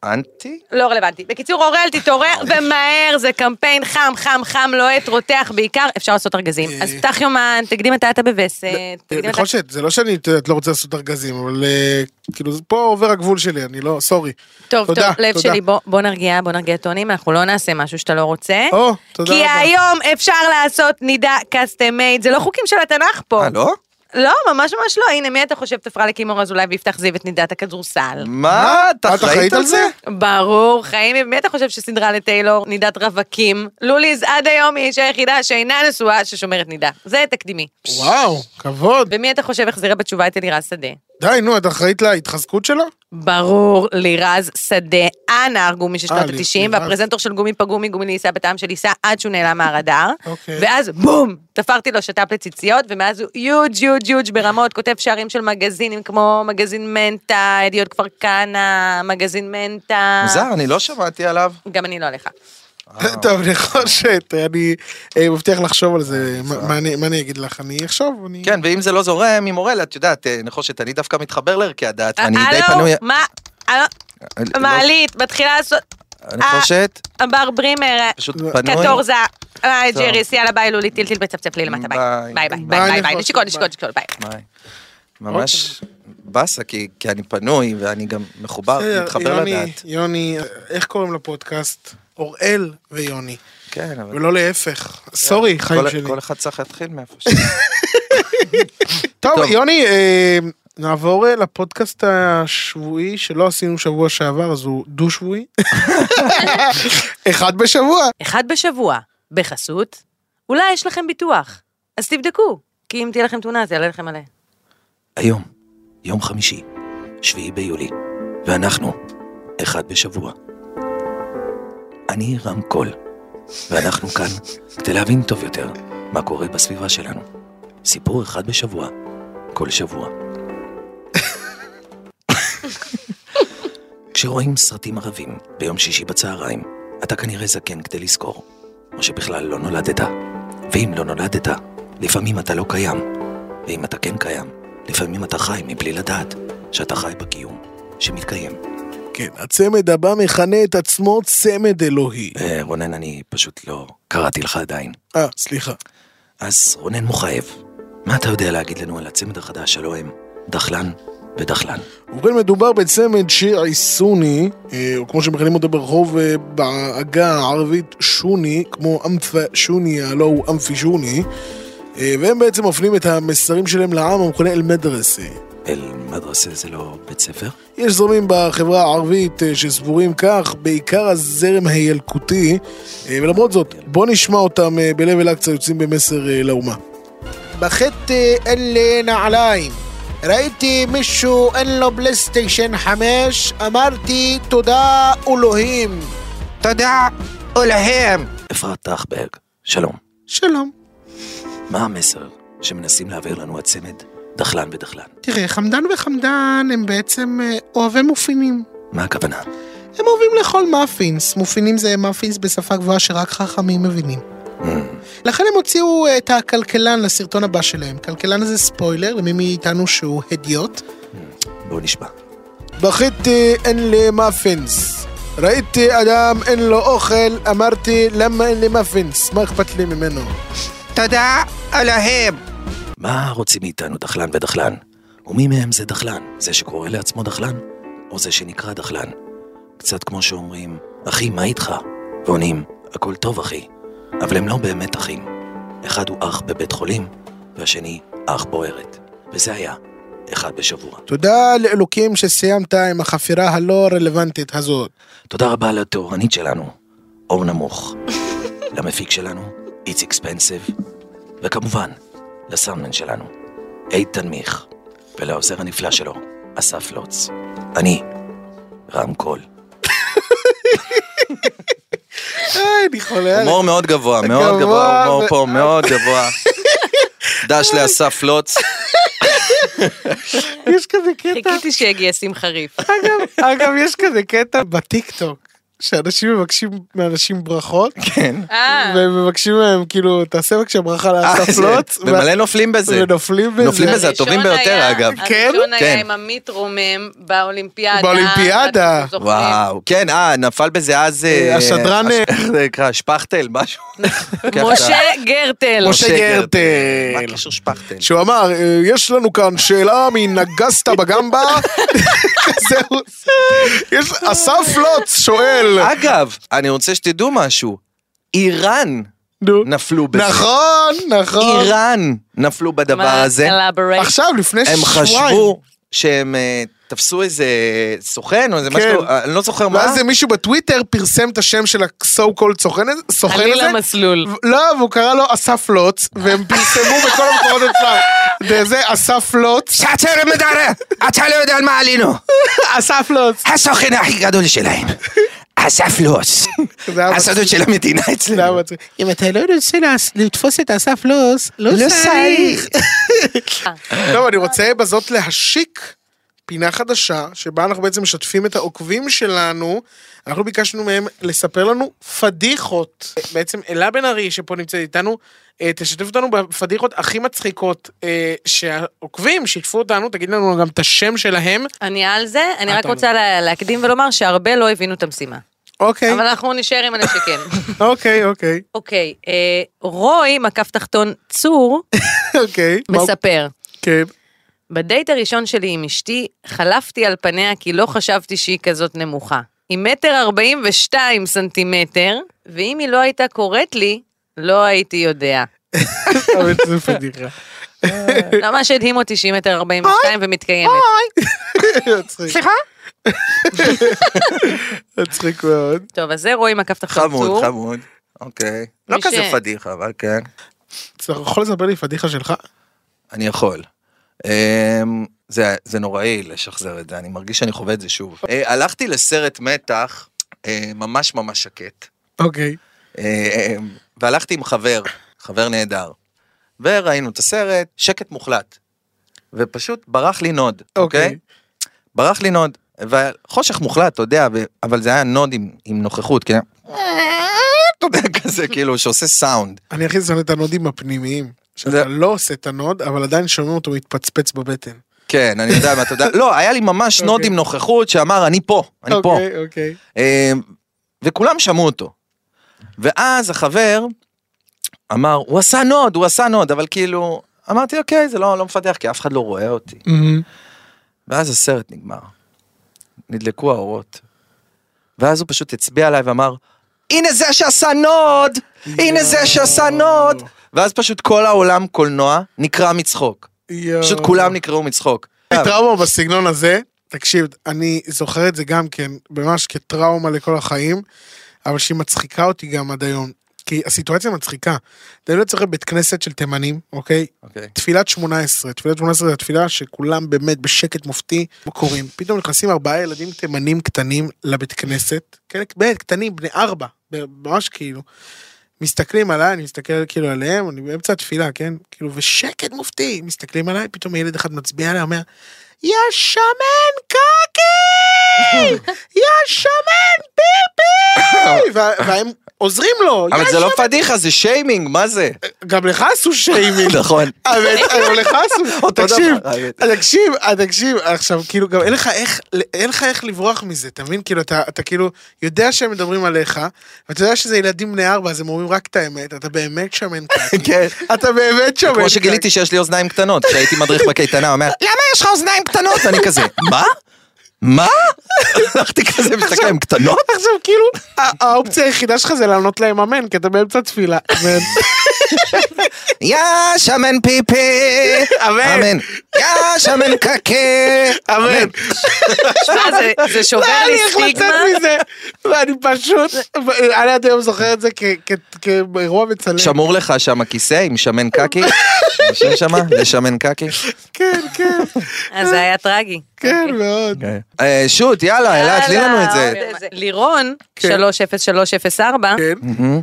F: אנטי?
G: לא רלוונטי. בקיצור, אורל,
H: [LAUGHS]
G: תתעורר ומהר, זה קמפיין חם, חם, חם, לוהט, רותח, בעיקר אפשר לעשות ארגזים.
H: אה.
G: אז פתח יומן, תקדים את האטה בווסת, תקדים את ה...
H: נחושת, זה לא שאני, את יודעת, לא רוצה לעשות ארגזים, אבל אה, כאילו, זה- פה עובר הגבול שלי, אני לא, סורי.
G: טוב,
H: תודה,
G: טוב, לב
H: תודה.
G: שלי, בוא- בוא נרגיע, בוא נרגיע טונים, אנחנו לא נעשה משהו שאתה לא רוצה.
H: או, תודה
G: כי
H: רבה.
G: היום אפשר לעשות נידה custom made, זה לא חוקים של התנ"ך פה.
F: אה, לא?
G: לא, ממש ממש לא. הנה, מי אתה חושב תפרה לקימור אזולאי ויפתח זיו את נידת הכדורסל?
J: מה? את
H: את אחראית על זה?
G: ברור, חיים, מי אתה חושב שסדרה לטיילור נידת רווקים? לוליז עד היום היא האישה היחידה שאינה נשואה ששומרת נידה. זה תקדימי.
H: וואו, כבוד.
G: ומי אתה חושב החזירה בתשובה את אלירז שדה?
H: די, נו, את אחראית להתחזקות שלה?
G: ברור, לירז שדה, הנער גומי של
H: אה,
G: שנות
H: לי-
G: ה-90,
H: לירז.
G: והפרזנטור של גומי פגומי, גומי ליסה בטעם של ליסה, עד שהוא נעלם מהרדאר.
H: אוקיי.
G: ואז בום, תפרתי לו שת"פ לציציות, ומאז הוא יוג' יוג' יוג' ברמות, כותב שערים של מגזינים כמו מגזין מנטה, ידיעות כפר כנא, מגזין מנטה.
J: מוזר, אני לא שמעתי עליו.
H: אה.
G: גם אני לא עליך.
H: [LAUGHS] טוב, נחושת, אני אה, מבטיח לחשוב על זה. מה- מה אני- מה אני אגיד לך? אני אחשוב, אני...
J: כן, ואם זה לא זורם עם אורל, את יודעת, אה, נחושת, אני דווקא מתחבר לערכי הדת,
H: אה,
J: ואני די
H: לא,
G: הלו,
J: פנוי...
G: מה? הלו,
J: לא,
G: מעלית, מתחילה לעשות...
J: נחושת,
H: אה,
G: בר ברימר, אה,
J: פשוט פנוי.
G: קטורזה, אה, ג'יריס, יאללה ביי לולי טילטיל בצפצף לי למטה ביי.
J: ביי.
G: ביי ביי
H: ביי,
G: ביי ביי ביי,
H: נפלו,
G: נשיקות
H: ביי.
G: נשיקות נשיקות ביי.
J: וואי, ממש
H: אוקיי.
J: באסה, כי כי אני פנוי, ואני גם מחובר, מתחבר
H: יוני,
J: לדת.
H: יוני, איך קוראים לפודקאסט? אוראל ויוני,
J: כן, אבל...
H: ולא להפך. סורי, חיים
J: כל-
H: שלי.
J: כל אחד צריך להתחיל מאיפה ש...
H: טוב,
J: טוב.
H: יוני, אה, נעבור אה, לפודקאסט השבועי שלא עשינו שבוע שעבר, אז הוא [LAUGHS] דו-שבועי. אחד בשבוע.
G: אחד בשבוע, בחסות, אולי יש לכם ביטוח, אז תבדקו, כי אם תהיה לכם תאונה זה יעלה לכם מלא.
F: היום, יום חמישי, שביעי ביולי, ואנחנו, אחד בשבוע. אני רם קול, ואנחנו כאן כדי להבין טוב יותר מה קורה בסביבה שלנו. סיפור אחד בשבוע, כל שבוע. כשרואים סרטים ערבים ביום שישי בצהריים, אתה כנראה זקן כדי לזכור, או שבכלל לא נולדת. ואם לא נולדת, לפעמים אתה לא קיים, ואם אתה כן קיים, לפעמים אתה חי מבלי לדעת שאתה חי בקיום שמתקיים.
H: כן, הצמד הבא מכנה את עצמו צמד אלוהי.
F: אה, רונן, אני פשוט לא קראתי לך עדיין.
H: אה, סליחה.
F: אז רונן מוכאב, מה אתה יודע להגיד לנו על הצמד החדש שלו הם דחלן ודחלן?
H: ובכן מדובר בצמד שיעי סוני, אה, או כמו שמכנים אותו ברחוב אה, בעגה הערבית שוני, כמו אמפה שוני, הלא הוא אמפי שוני, אה, והם בעצם מפנים את המסרים שלהם לעם המכונה אל-מדרסה.
F: אל מדרסה זה לא בית ספר?
H: יש זרמים בחברה הערבית אה, שסבורים כך, בעיקר הזרם הילקוטי, אה, ולמרות זאת, בוא נשמע אותם אה, בלב אל-אקצא יוצאים במסר אה, לאומה.
C: בחטתי אין לי נעליים. ראיתי מישהו אין לו פלייסטיישן 5, אמרתי תודה אלוהים.
J: תודה, אולהם.
F: אפרת טחברג, שלום.
C: שלום.
F: מה המסר שמנסים להעביר לנו הצמד דחלן ודחלן?
C: תראה, חמדן וחמדן הם בעצם אה, אוהבי מופינים.
F: מה הכוונה?
C: הם אוהבים לאכול מאפינס. מופינים זה מאפינס בשפה גבוהה שרק חכמים מבינים. לכן הם הוציאו אה, את הכלכלן לסרטון הבא שלהם. כלכלן זה ספוילר למי מאיתנו שהוא הדיוט.
F: בואו נשמע.
H: בכיתי אין לי מאפינס. ראיתי אדם אין לו אוכל, אמרתי למה אין לי מאפינס, מה אכפת לי ממנו?
J: תודה, אולהם.
F: מה רוצים מאיתנו דחלן ודחלן? ומי מהם זה דחלן? זה שקורא לעצמו דחלן? או זה שנקרא דחלן? קצת כמו שאומרים, אחי, מה איתך? ועונים, הכל טוב, אחי. אבל הם לא באמת אחים. אחד הוא אח בבית חולים, והשני אח בוערת. וזה היה אחד בשבוע.
H: תודה לאלוקים שסיימת עם החפירה הלא רלוונטית הזאת.
F: תודה רבה לתאורנית שלנו, אור נמוך. [LAUGHS] למפיק שלנו, It's Expensive. וכמובן, לסאונדמן שלנו, איתן מיך. ולעוזר הנפלא שלו, אסף לוץ. אני, רם קול.
H: היי, אני חולה.
J: הומור מאוד גבוה, מאוד
H: גבוה
J: גבוה,
H: ו-
J: הומור פה מאוד גבוה.
H: [LAUGHS]
J: דש לאסף לוץ.
H: אה, יש כזה קטע,
G: חיכיתי שיגיע שמחה ריף.
H: אה, אגב, אגב, יש כזה קטע בטיקטוק, שאנשים מבקשים מאנשים ברכות,
J: כן.
G: אה,
H: והם מבקשים מהם, כאילו, תעשה בבקשה ברכה לאסף
J: אה, זה-
H: לוץ,
J: ומלא נופלים בזה.
H: ונופלים בזה.
J: נופלים בזה, הטובים
G: הראשון
J: ביותר,
G: היה-
J: אגב.
G: הראשון
J: כן.
G: היה עם עמית רומם באולימפיאדה.
H: באולימפיאדה.
G: אנחנו זוכרים.
J: וואו, כן, אה, נפל בזה אז... אה,
H: השדרן,
J: הש-
H: אה,
J: איך זה נקרא? שפכטל, משהו?
G: משה גרטל.
H: משה גרטל.
J: מה הקשר שפכטל?
H: שהוא אמר, "אה, יש לנו כאן שאלה מנגסת בגמבה, [LAUGHS] זהו, יש, אסף לוץ שואל, [LAUGHS]
J: אה, אגב, אני רוצה שתדעו משהו. איראן
H: נו.
F: נפלו בזה.
H: נכון, נכון.
F: איראן נפלו בדבר
G: מה,
F: הזה.
G: elaborate?
H: עכשיו, לפני
F: הם
H: שבועיים.
F: חשבו שהם אה, תפסו איזה סוכן או איזה
H: כן.
F: משהו, אה, אני לא זוכר מה.
H: ואז זה מישהו בטוויטר פרסם את השם של הסו קולד סוכן הזה, סוכן
G: עלי
H: הזה,
G: למסלול.
H: ו- לא, והוא קרא לו אסף לוץ, והם פרסמו בכל המקומות
J: [LAUGHS]
H: אפשר. זה אסף לוץ,
F: שאתם מדברים, אתה לא יודע על מה עלינו.
H: [LAUGHS] אסף לוץ.
F: הסוכן הכי גדול שלהם. [LAUGHS] אסף לוס.
H: זה היה הסודות
F: של המדינה
H: זה היה
F: אצלנו.
H: מצחיק.
C: אם אתה לא רוצה לס- לתפוס את אסף לוס, לא צריך.
H: טוב, אני רוצה בזאת להשיק פינה חדשה, שבה אנחנו בעצם משתפים את העוקבים שלנו. אנחנו ביקשנו מהם לספר לנו פדיחות. בעצם אלה בן ארי, שפה נמצאת איתנו, אה, תשתף אותנו בפדיחות הכי מצחיקות אה, שהעוקבים שיתפו אותנו, תגיד לנו גם את השם שלהם.
G: אני על זה, אני
H: אה,
G: רק
H: אתה אומר.
G: רוצה לה- להקדים ולומר שהרבה לא הבינו את המשימה.
H: אוקיי,
G: אבל אנחנו נשאר עם אלה שכן. [LAUGHS]
H: אוקיי, אוקיי,
G: אוקיי, אה, רוי, מקף תחתון צור, [LAUGHS]
H: אוקיי. [LAUGHS] מה-
G: מספר.
H: כן.
G: בדייט הראשון שלי עם אשתי, חלפתי על פניה כי לא חשבתי שהיא כזאת נמוכה. היא מטר ארבעים ושתיים סנטימטר, ואם היא לא הייתה קוראת לי, לא הייתי
H: [LAUGHS]
G: יודע.
H: אבל זה פדיחה.
G: ממש הדהים אותי שהיא מטר ארבעים ושתיים ומתקיימת.
H: מצחיק.
G: סליחה?
H: [LAUGHS] מצחיק מאוד.
G: טוב, אז זה רועי מקף תחתון צור.
F: חמוד, חמוד. אוקיי. לא
G: מי ש-
F: כזה פדיחה, אבל כן.
H: אתה יכול לספר לי פדיחה שלך?
F: אני יכול. אמ, זה, זה נוראי לשחזר את זה, אני מרגיש שאני חווה את זה שוב. אה, הלכתי לסרט מתח, אה, ממש ממש שקט,
H: אוקיי.
F: אה, אמ, והלכתי עם חבר, חבר נהדר, וראינו את הסרט, שקט מוחלט, ופשוט ברח לי נוד, אוקיי?
H: אוקיי.
F: Okay. ברח לי נוד, וחושך מוחלט, אתה יודע, ו... אבל זה היה נוד עם, עם נוכחות, כן? אתה יודע, [LAUGHS] כזה, כאילו, שעושה סאונד.
H: אני הכי שונא את הנודים הפנימיים.
F: זה-
H: שאתה לא עושה את הנוד, אבל עדיין שומעים אותו מתפצפץ בבטן.
F: כן, אני יודע מה אתה יודע. לא, היה לי ממש נוד
H: אוקיי.
F: עם נוכחות שאמר, אני פה, אני פה.
H: אוקיי, אוקיי.
F: אה, וכולם שמעו אותו. ואז החבר אמר, הוא עשה נוד, הוא עשה נוד, אבל כאילו, אמרתי, אוקיי, זה לא, לא מפתח, כי אף אחד לא רואה אותי. ואז הסרט נגמר. נדלקו האורות. ואז הוא פשוט הצביע עליי ואמר, הנה זה שעשה נוד! הנה זה שעשה נוד! ואז פשוט כל העולם קולנוע נקרע מצחוק.
H: יואו.
F: פשוט כולם נקרעו מצחוק.
H: טראומה בסגנון הזה, תקשיב, אני זוכר את זה גם כן, ממש כטראומה לכל החיים, אבל שהיא מצחיקה אותי גם עד היום. כי הסיטואציה מצחיקה. אתה יודע, לא צריך בית כנסת של תימנים, אוקיי?
F: אוקיי.
H: תפילת שמונה עשרה, תפילת שמונה עשרה זה התפילה שכולם באמת בשקט מופתי קוראים. פתאום נכנסים ארבעה ילדים תימנים קטנים לבית כנסת, כן, באמת קטנים, בני ארבע, ממש כאילו. מסתכלים עליי, אני מסתכל כאילו עליהם, אני באמצע התפילה, כן? כאילו, ושקט מופתי, מסתכלים עליי, פתאום ילד אחד מצביע עליי, אומר, יא שמן
F: [LAUGHS]
H: קקי! יא שמן פיפי! וה- והם עוזרים לו,
F: אבל
H: "יא
F: זה לא
H: שמן-"
F: פדיחה, זה שיימינג, מה זה?
H: גם לך עשו שיימינג.
F: נכון.
H: [LAUGHS] אבל אבל לך עשו,
F: אותו
H: תקשיב,
F: דבר, האמת.
H: תקשיב, אה, תקשיב, עכשיו כאילו גם אין לך איך, אין לך איך לברוח מזה, אתה מבין? כאילו אתה, אתה כאילו יודע שהם מדברים עליך, ואתה יודע שזה ילדים בני ארבע, אז הם אומרים רק את האמת, אתה באמת
F: [LAUGHS]
H: שמן קקי.
F: כן.
H: אתה באמת שמן
F: כמו שגיליתי שיש לי אוזניים קטנות, כשהייתי מדריך בקייטנה, הוא אומר, למה יש לך אוזניים קטנות? ואני כזה, מה? מה? הלכתי כזה, מסתכל עליהם קטנות?
H: עכשיו כאילו, ה- האופציה היחידה שלך זה לענות להם אמן, כי אתה באמצע תפילה. [LAUGHS] אמן.
F: יא שמן פיפי,
H: אמן.
F: אמן. יא שמן קקי,
H: אמן.
G: שמע, זה- זה שובר
H: [LAUGHS] לא
G: לי
H: היה איך לצאת
G: סטיגמה.
H: מזה. ואני פשוט, אני עד היום זוכר את זה כ- כ- כאירוע מצלם.
F: שמור לך שם הכיסא עם שמן קקי? יושב שם? זה שמן
H: [LAUGHS]
F: קקי?
H: כן, כן,
G: אז זה היה טרגי.
H: כן, מאוד.
F: אה, שוט, יאללה, אלה, תני לנו את זה.
G: יאללה, עוד איזה. אה, אוקיי, לירון,
H: כן.
G: 30304,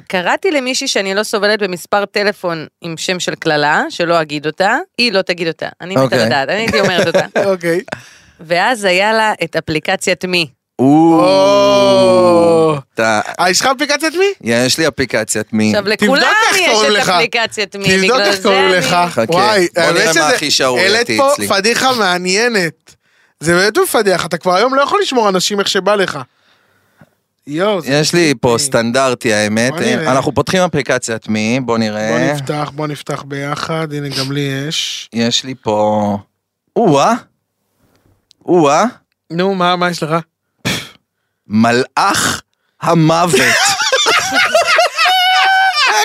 G: קראתי למישהי שאני לא סובלת במספר טלפון עם שם של קללה, שלא אגיד אותה, היא לא תגיד אותה, אני מתה
F: אוקיי.
G: לדעת, אני הייתי אומרת
F: [LAUGHS]
G: אותה.
H: אוקיי.
G: ואז היה לה את אפליקציית מי.
F: או, אתה-
H: אה, יש לך אפליקציית מי?
F: יש לי אפליקציית מי.
G: עכשיו
H: תבדוק
G: לכולם
H: איך
G: יש
H: קוראים
G: את
H: לך.
G: אפליקציית מי,
H: תבדוק
G: בגלל
H: איך
G: זה
H: קוראים
G: אני-
H: לך.
F: חכה,
H: וואי,
F: בוא נראה
H: האמת
F: מה
H: שזה-
F: הכי שערורייתי
H: העלית פה
F: אצלי.
H: פדיחה מעניינת. זה באמת מפדח, אתה כבר היום לא יכול לשמור אנשים איך שבא לך. יואו, זה- אוקיי.
F: יש לי פה סטנדרטי האמת,
H: בוא נראה.
F: אנחנו פותחים אפליקציית מי, בוא
H: בוא
F: נראה.
H: נפתח, בוא נפתח ביחד, הנה גם לי יש.
F: יש לי פה... או-אה, או-אה,
H: נו, מה, מה יש לך?
F: אה, מלאך המוות.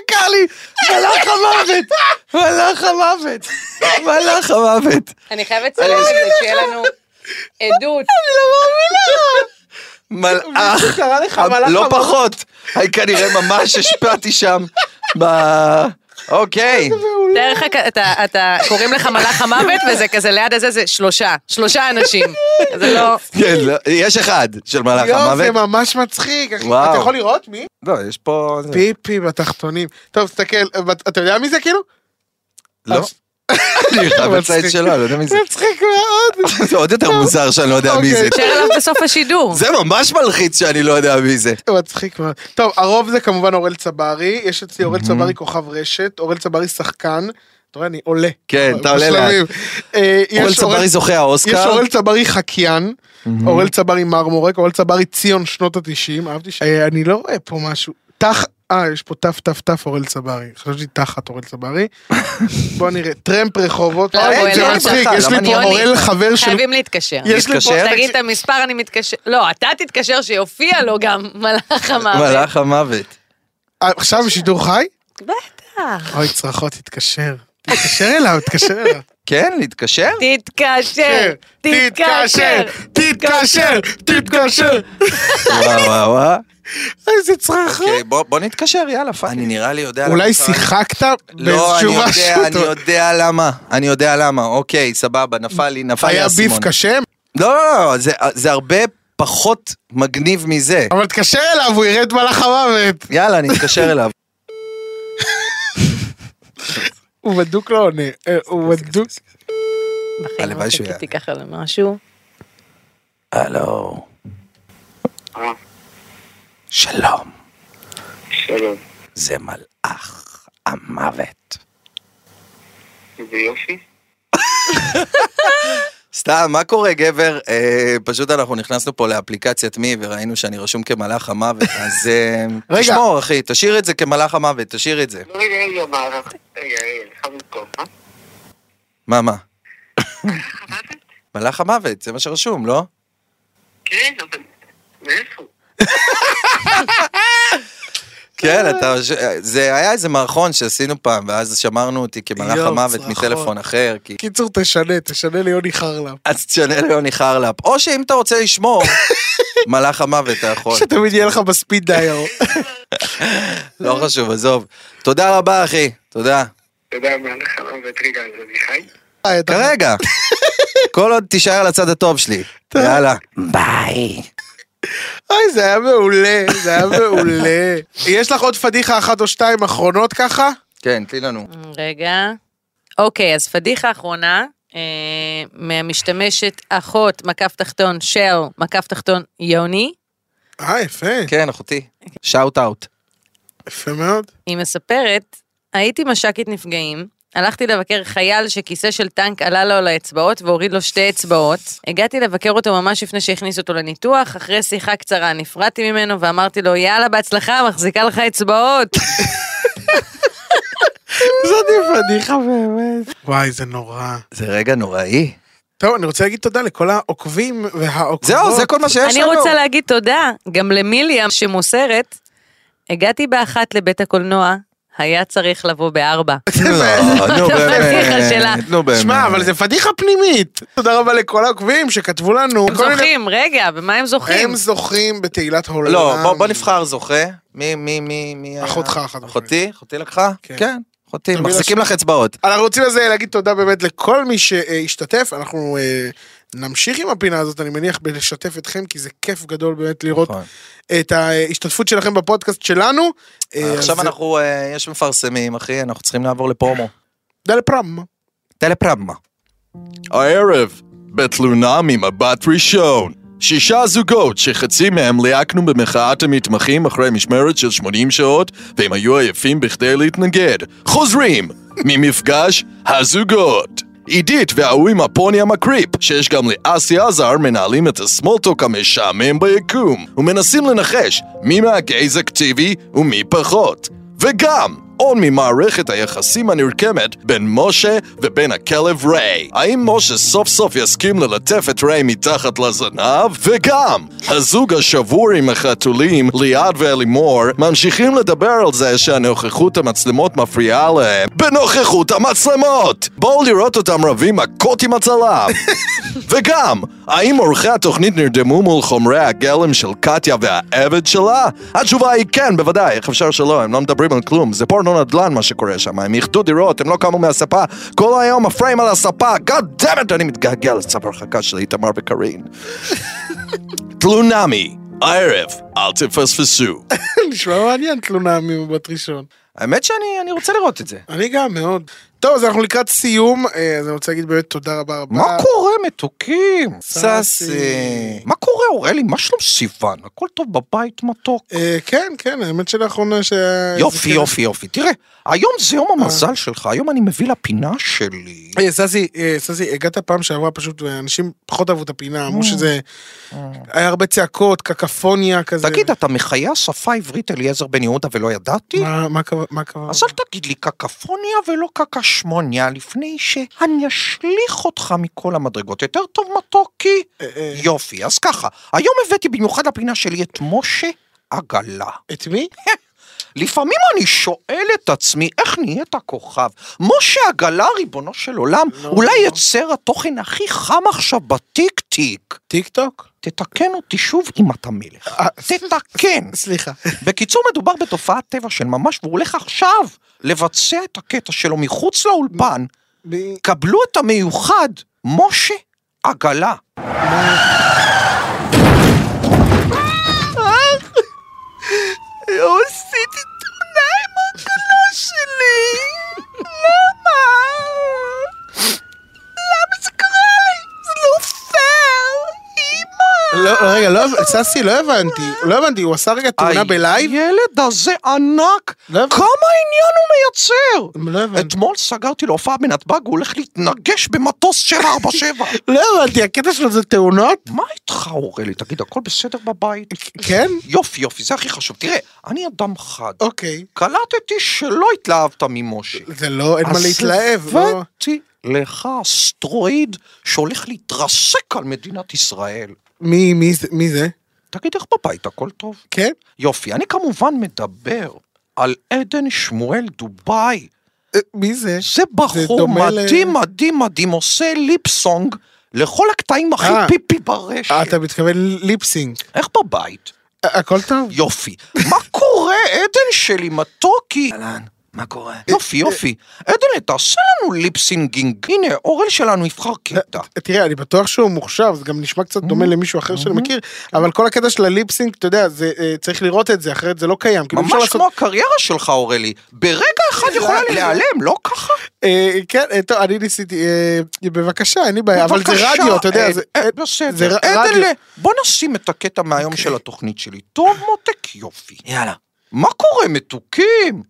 H: קר לי,
F: מלאך המוות! מלאך המוות! מלאך המוות!
G: אני חייבת לצלם את זה, שיהיה לנו עדות.
H: לא
F: מלאך,
H: קרא לך
F: המ-
H: מלאך
F: לא
H: המוות.
F: פחות, אני כנראה ממש השפעתי שם. ב- אוקיי,
G: תאר לך, כ- אתה- אתה, קוראים לך מלאך המוות, וזה כזה ליד הזה, זה שלושה, שלושה אנשים. זה לא...
F: כן, לא, יש אחד של מלאך
H: יואו, זה
F: המוות.
H: ממש מצחיק, אחי.
F: וואו.
H: אתה יכול לראות מי?
F: לא, יש פה... זה-
H: פיפי בתחתונים. טוב, תסתכל, בת- אתה יודע מי זה כאילו?
F: לא.
H: אה, [LAUGHS]
F: אני חייב לצייץ שלו, אני לא יודע מי זה.
H: מצחיק מאוד.
F: זה עוד יותר מוזר שאני לא יודע מי זה.
H: אוקיי.
G: נשאר עליו בסוף השידור.
F: זה ממש מלחיץ שאני לא יודע מי זה.
H: מצחיק מאוד. טוב, הרוב זה כמובן אורל צברי, יש אצלי אורל צברי כוכב רשת, אורל צברי שחקן. אתה רואה, אני עולה.
F: כן, אתה עולה
H: בשלבים. אה, יש
F: אורל צברי זוכה
H: יש
F: האוסקר.
H: אורל צברי חקיין, אורל צברי מרמורק, אורל צברי ציון שנות התשעים, אהבתי ש... אה, אני לא רואה פה משהו. תח... אה, יש פה תף תף תף אורל צברי. חשבתי תחת אורל
F: [LAUGHS]
H: צברי. בוא נראה, טרמפ רחובות.
G: לא,
H: אה,
G: בוא,
H: זה
G: אלוהים
H: מצחיק,
F: שלך,
H: יש לי
F: למה
H: פה
G: אני- לא
H: אורל חבר של...
G: חייבים להתקשר.
H: יש לי פה...
F: מתקשר?
G: תגיד את המספר, אני מתקשר. לא, אתה תתקשר שיופיע לו גם [LAUGHS] מלאך המוות.
F: מלאך המוות.
H: אה, עכשיו בשידור חי?
G: בטח.
H: אוי, צרחות, תתקשר. תתקשר אליו, תתקשר אליו.
F: כן, להתקשר?
H: כן,
G: תתקשר, תתקשר.
H: תתקשר, תתקשר.
F: וואו וואו וואו.
H: איזה צרחות.
F: אוקיי, בוא בוא נתקשר, יאללה, פאק. אני נראה לי יודע...
H: אולי
F: למה קרה.
H: שיחקת
F: לא, אני
H: באיזשהו
F: יודע, אני
H: משהו.
F: יודע למה. אני יודע למה. אוקיי, סבבה, נפל לי, נפל לי
H: היה ביף
F: האסימון.
H: קשה?
F: לא, לא, לא, זה- זה הרבה פחות מגניב מזה.
H: אבל תקשר אליו, הוא יראה את מלאך המוות.
F: יאללה, אני אתקשר אליו.
H: הוא בדוק לא עונה.
F: כן,
H: אה, הוא בדוק.
G: בחיים
F: הלוואי
G: לא
F: שהוא
G: חיכיתי ככה למשהו.
F: הלו.
K: אה.
F: שלום.
K: שלום.
F: זה מלאך המוות.
K: זה יופי?
F: סתם, מה קורה גבר? אה, פשוט אנחנו נכנסנו פה לאפליקציית מי וראינו שאני רשום כמלאך המוות, אז אה,
H: רגע.
F: תשמור אחי, תשאיר את זה כמלאך המוות, תשאיר את זה.
K: לא, רגע, רגע, מה? רגע, רגע, לך במקום, מה?
F: מה, מה? מלאך המוות, זה מה שרשום, לא?
K: כן, אבל... מאיפה?
F: כן,
H: אה.
F: אתה... זה היה איזה מערכון שעשינו פעם, ואז שמרנו אותי כמלאך
H: יואו, נכון.
F: המוות
H: צרחות.
F: מטלפון אחר, כי...
H: קיצור, תשנה, תשנה ליוני חרלם.
F: אז תשנה ליוני חרלפ, או שאם אתה רוצה
H: [LAUGHS]
F: לשמור, מלאך המוות אתה יכול.
H: שתמיד יהיה לך בספיד
F: [LAUGHS]
H: דייר.
F: לא חשוב, עזוב. תודה רבה, אחי, תודה.
K: אתה יודע מה לך מוות? רגע, אז אני חי?
H: אה, [LAUGHS]
F: כרגע. כל עוד תישאר על הצד הטוב שלי. יאללה. ביי.
H: אוי, זה היה מעולה, זה היה מעולה. יש לך עוד פדיחה אחת או שתיים אחרונות ככה?
F: כן, תני לנו.
G: רגע. אוקיי, אז פדיחה אחרונה, אה, מהמשתמשת אחות מקף תחתון של מקף תחתון יוני.
H: אה, יפה,
F: כן, אחותי. שאוט אאוט.
H: יפה מאוד.
G: היא מספרת, הייתי מש"קית נפגעים, הלכתי לבקר חייל שכיסא של טנק עלה לו על האצבעות והוריד לו שתי אצבעות. הגעתי לבקר אותו ממש לפני שהכניס אותו לניתוח, אחרי שיחה קצרה נפרדתי ממנו ואמרתי לו, יאללה, בהצלחה, מחזיקה לך
H: [LAUGHS]
G: אצבעות.
H: זאת פדיחה באמת. וואי, זה נורא.
F: זה רגע נוראי.
H: טוב, אני רוצה להגיד תודה לכל העוקבים והעוקבות.
F: זהו, זה כל מה שיש
G: אני
F: לנו.
G: רוצה להגיד תודה גם למיליאם שמוסרת, הגעתי באחת לבית הקולנוע, היה צריך לבוא בארבע.
F: [LAUGHS]
G: [LAUGHS]
F: לא, נו
G: הפדיחה שלה.
F: באמת. נו באמת.
H: שמע, אבל זה פדיחה פנימית. תודה רבה לכל העוקבים שכתבו לנו.
G: הם
H: כל מיני-
G: זוכים, רגע, במה הם זוכים?
H: הם זוכים בתהילת העולם.
F: לא, בוא- בוא נבחר זוכה. מי, מי, מי, מי...
H: אחותך,
F: היה?
H: אחת
F: אחותי? אחותי לקחה?
H: כן.
F: כן. אחותי,
H: תביא
F: מחזיקים
H: לה-
F: לך אצבעות.
H: אנחנו רוצים לזה להגיד תודה באמת לכל מי שהשתתף, אנחנו אה, נמשיך עם הפינה הזאת, אני מניח, בלשתף אתכם, כי זה כיף גדול באמת לראות
F: נכון.
H: את ההשתתפות שלכם בפודקאסט שלנו. אה,
F: עכשיו
H: אז-
F: אנחנו, אה, יש מפרסמים, אחי, אנחנו צריכים לעבור לפרומו.
H: דלה פרם.
F: טלפרמה. הערב, בתלונה ממבט ראשון. שישה זוגות שחצי מהם ליהקנו במחאת המתמחים אחרי משמרת של 80 שעות והם היו עייפים בכדי להתנגד. חוזרים ממפגש הזוגות. עידית וההוא עם הפוני המקריפ, שיש גם לאסי עזר, מנהלים את הסמולטוק המשעמם ביקום ומנסים לנחש מי מהגייז אקטיבי ומי פחות. וגם
L: שעון ממערכת היחסים הנרקמת בין משה ובין הכלב ריי. האם משה סוף סוף יסכים ללטף את ריי מתחת לזנב? וגם, הזוג השבור עם החתולים, ליעד ואלימור, ממשיכים לדבר על זה שהנוכחות המצלמות מפריעה להם בנוכחות המצלמות! בואו לראות אותם רבים מכות עם הצלם! וגם, האם עורכי התוכנית נרדמו מול חומרי הגלם של קטיה והעבד שלה? התשובה היא כן, בוודאי, איך אפשר שלא, הם לא מדברים על כלום, זה פורנו נדל"ן מה שקורה שם, הם איחדו דירות, הם לא קמו מהספה, כל היום הפריים על הספה, God damn it, אני מתגעגע לצו הרחקה של איתמר [LAUGHS] וקארין. תלונמי, הערב, אל תפספסו.
H: [LAUGHS] נשמע מעניין תלונה ממבט ראשון.
L: האמת שאני אני רוצה לראות את זה.
H: אני גם מאוד. טוב, אז אנחנו לקראת סיום, אה, אז אני רוצה להגיד באמת תודה רבה רבה.
L: מה קורה מתוקים?
H: ססי.
L: מה קורה אורלי? מה שלום סיוון? הכל טוב בבית מתוק.
H: אה, כן, כן, האמת שלאחרונה ש... כן-
L: יופי יופי יופי. תראה, היום זה יום המזל שלך, היום אני מביא לפינה שלי.
H: אה, ססי, אה, ססי, הגעת פעם שעברה פשוט, אה, אנשים פחות אהבו את הפינה,
L: Mm.
H: אמרו שזה... היה הרבה צעקות, קקפוניה כזה.
L: תגיד, אתה מחיה שפה עברית אליעזר בן יהודה ולא ידעתי?
H: מה- מה הכוו- מה הכוונה?
L: אז אל תגיד לי קקפוניה ולא קקשמוניה לפני שאני אשליך אותך מכל המדרגות. יותר טוב מתוקי?
H: אה,
L: יופי, אז ככה, היום הבאתי במיוחד לפינה שלי את משה עגלה.
H: את מי?
L: [LAUGHS] לפעמים אני שואל את עצמי, איך נהיית כוכב? משה עגלה, ריבונו של עולם,
H: לא.
L: אולי יצר התוכן הכי חם עכשיו בטיק טיק.
H: טיק טוק? אה,
L: תתקן אותי שוב אם אתה מלך.
H: [LAUGHS]
L: תתקן.
H: סליחה.
L: בקיצור, מדובר בתופעת טבע של ממש, והוא הולך עכשיו לבצע את הקטע שלו מחוץ לאולפן.
H: ב-
L: קבלו את המיוחד, משה עגלה.
M: אה, אה, עשיתי תמונה עם הגלה שלי! למה? למה זה קרה לי? זה לא פייר! אמא!
H: לא, רגע, לא, ססי, לא הבנתי, לא הבנתי, הוא עשה רגע תאונה בלייב?
L: הילד הזה ענק,
H: לא הבנתי.
L: כמה עניין הוא מייצר!
H: לא הבנתי.
L: אתמול סגרתי לו הופעה בנתב"ג, הוא הולך להתנגש במטוס
H: [LAUGHS]
L: 747.
H: לא הבנתי, הקטע שלו זה תאונות?
L: מה איתך אורלי? תגיד, הכל בסדר בבית?
H: כן?
L: יופי, יופי, זה הכי חשוב. תראה, אני אדם חד.
H: אוקיי.
L: קלטתי שלא התלהבת ממשה.
H: זה לא, אין מה להתלהב,
L: אז
H: לא?
L: הבאתי לך אסטרואיד שהולך להתרסק על מדינת ישראל.
H: מי, מי זה- מי זה?
L: תגיד, איך בבית הכל טוב?
H: כן?
L: יופי, אני כמובן מדבר על עדן שמואל דובאי.
H: אה, מי זה?
L: זה בחור
H: דומה ל-
L: מדהים, מדהים, מדהים, עושה ליפסונג לכל הקטעים הכי
H: אה.
L: פיפי ברשת.
H: אה, אתה מתכוון ליפסינג.
L: איך בבית?
H: אה, הכל טוב?
L: יופי. מה קורה, עדן שלי מתוקי? אהלן, מה קורה? יופי, יופי. עדן, תעשה לנו ליפסינגינג. הנה, אורל שלנו יבחר קטע.
H: תראה, אני בטוח שהוא מוכשר, זה גם נשמע קצת
L: Mm-hmm.
H: דומה למישהו אחר שאני מכיר, אבל כל הקטע של הליפסינג, אתה יודע, זה, אה, צריך לראות את זה, אחרת זה לא קיים. כאילו, אי אפשר
L: ממש
H: לעשות-
L: כמו הקריירה שלך, אורלי. ברגע אחד יכולה להיעלם, לא ככה?
H: אה, כן, אה, טוב, אני ניסיתי, אה, בבקשה, אין לי בעיה, אה, אבל זה
L: בבקשה, אה.
H: רדיו, אתה יודע,
L: עד-
H: זה... אה,
L: עד-
H: זה
L: בסדר.
H: ר-
L: עדן,
H: רדיו. אוקיי.
L: ל- בוא נשים את הקטע מהיום של התוכנית שלי. טוב מותק, יופי.
F: יאללה.
L: מה קורה, מתוקים?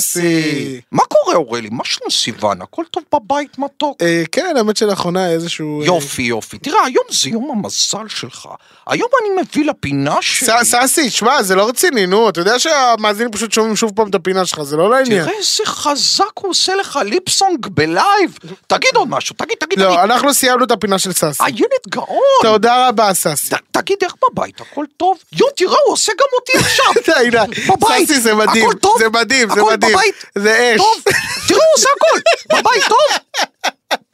H: ססי.
L: מה קורה, אורלי? מה שלום סיוון? הכל טוב בבית, מתוק?
H: אה, כן, האמת שלאחרונה היה איזשהו... אה,
L: יופי, יופי. תראה, היום זה יום המזל שלך. היום אני מביא לפינה שלי.
H: ס- ססי, שמע, זה לא רציני, נו, אתה יודע שהמאזינים פשוט שומעים שוב פעם את הפינה שלך, זה לא לעניין.
L: תראה איזה חזק הוא עושה לך ליפסונג בלייב. תגיד עוד משהו, תגיד, תגיד.
H: לא,
L: תגיד.
H: אנחנו סיימנו את הפינה של ססי.
L: הילד גאון.
H: תודה רבה, ססי.
L: ת- תגיד איך בבית, הכל טוב? יו, תראה, הוא עושה גם אותי עכשיו.
H: [LAUGHS] די, די.
L: בבית.
H: ססי, זה מדהים.
L: הכל טוב?
H: זה מדהים, זה
L: הכל
H: מדהים.
L: בבית?
H: זה אש.
L: טוב, תראו, הוא עושה הכל. בבית, טוב?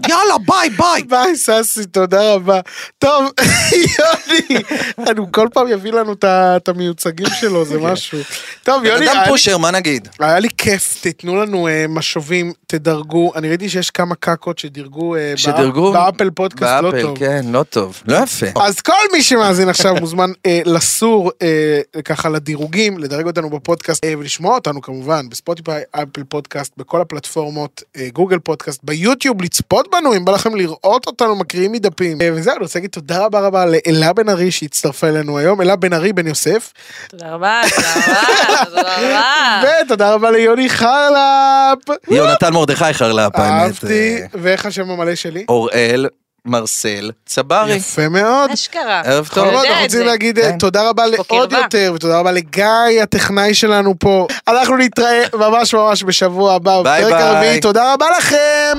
L: יאללה, ביי, ביי.
H: ביי, ססי, תודה רבה. טוב, [LAUGHS] יוני, אני- הוא כל פעם יביא לנו את ה- את המיוצגים שלו, זה משהו. טוב, יוני,
L: אדם
H: היה לי-
L: פושר, מה נגיד?
H: היה לי כיף, תיתנו לנו אה, משובים, תדרגו. אני ראיתי שיש כמה קקות שדירגו אה,
F: שדרגו?
H: באפ- באפל פודקאסט, לא טוב.
F: כן, לא טוב. לא יפה.
H: אז כל מי שמאזין עכשיו [LAUGHS] מוזמן אה, לסור אה, ככה לדירוגים, לדרג אותנו בפודקאסט אה, ולשמוע אותנו כמובן בספוטיפיי, אפל פודקאסט, בכל הפלטפורמות, אה, גוגל פודקאסט, ביוטיוב, לצפות בנו אם בא לכם לראות אותנו מקריאים מדפים. אה, וזהו, אני רוצה להגיד תודה רבה רבה לאלה בן ארי שהצטרפה אלינו היום, אלה בן ארי בן יוסף,
G: תודה רבה, תודה רבה, תודה
H: [LAUGHS]
G: רבה.
H: ותודה רבה ליוני חלפ,
F: יונתן מרדכי חרל"פ, האמת. אה,
L: אה.
H: אהבתי, ואיך השם המלא שלי?
F: אוראל מרסל צברי.
H: יפה מאוד.
G: אשכרה.
F: ערב
H: טוב,
F: טוב.
G: נכון. יודע
H: אנחנו
G: את
H: רוצים
G: זה.
H: להגיד אה,
F: כן.
H: תודה רבה לעוד
G: קרבה.
H: יותר, ותודה רבה לגיא הטכנאי שלנו פה. אנחנו נתראה ממש ממש בשבוע הבא,
F: ביי,
H: בפרק
F: ביי.
H: הרביעי, תודה רבה לכם!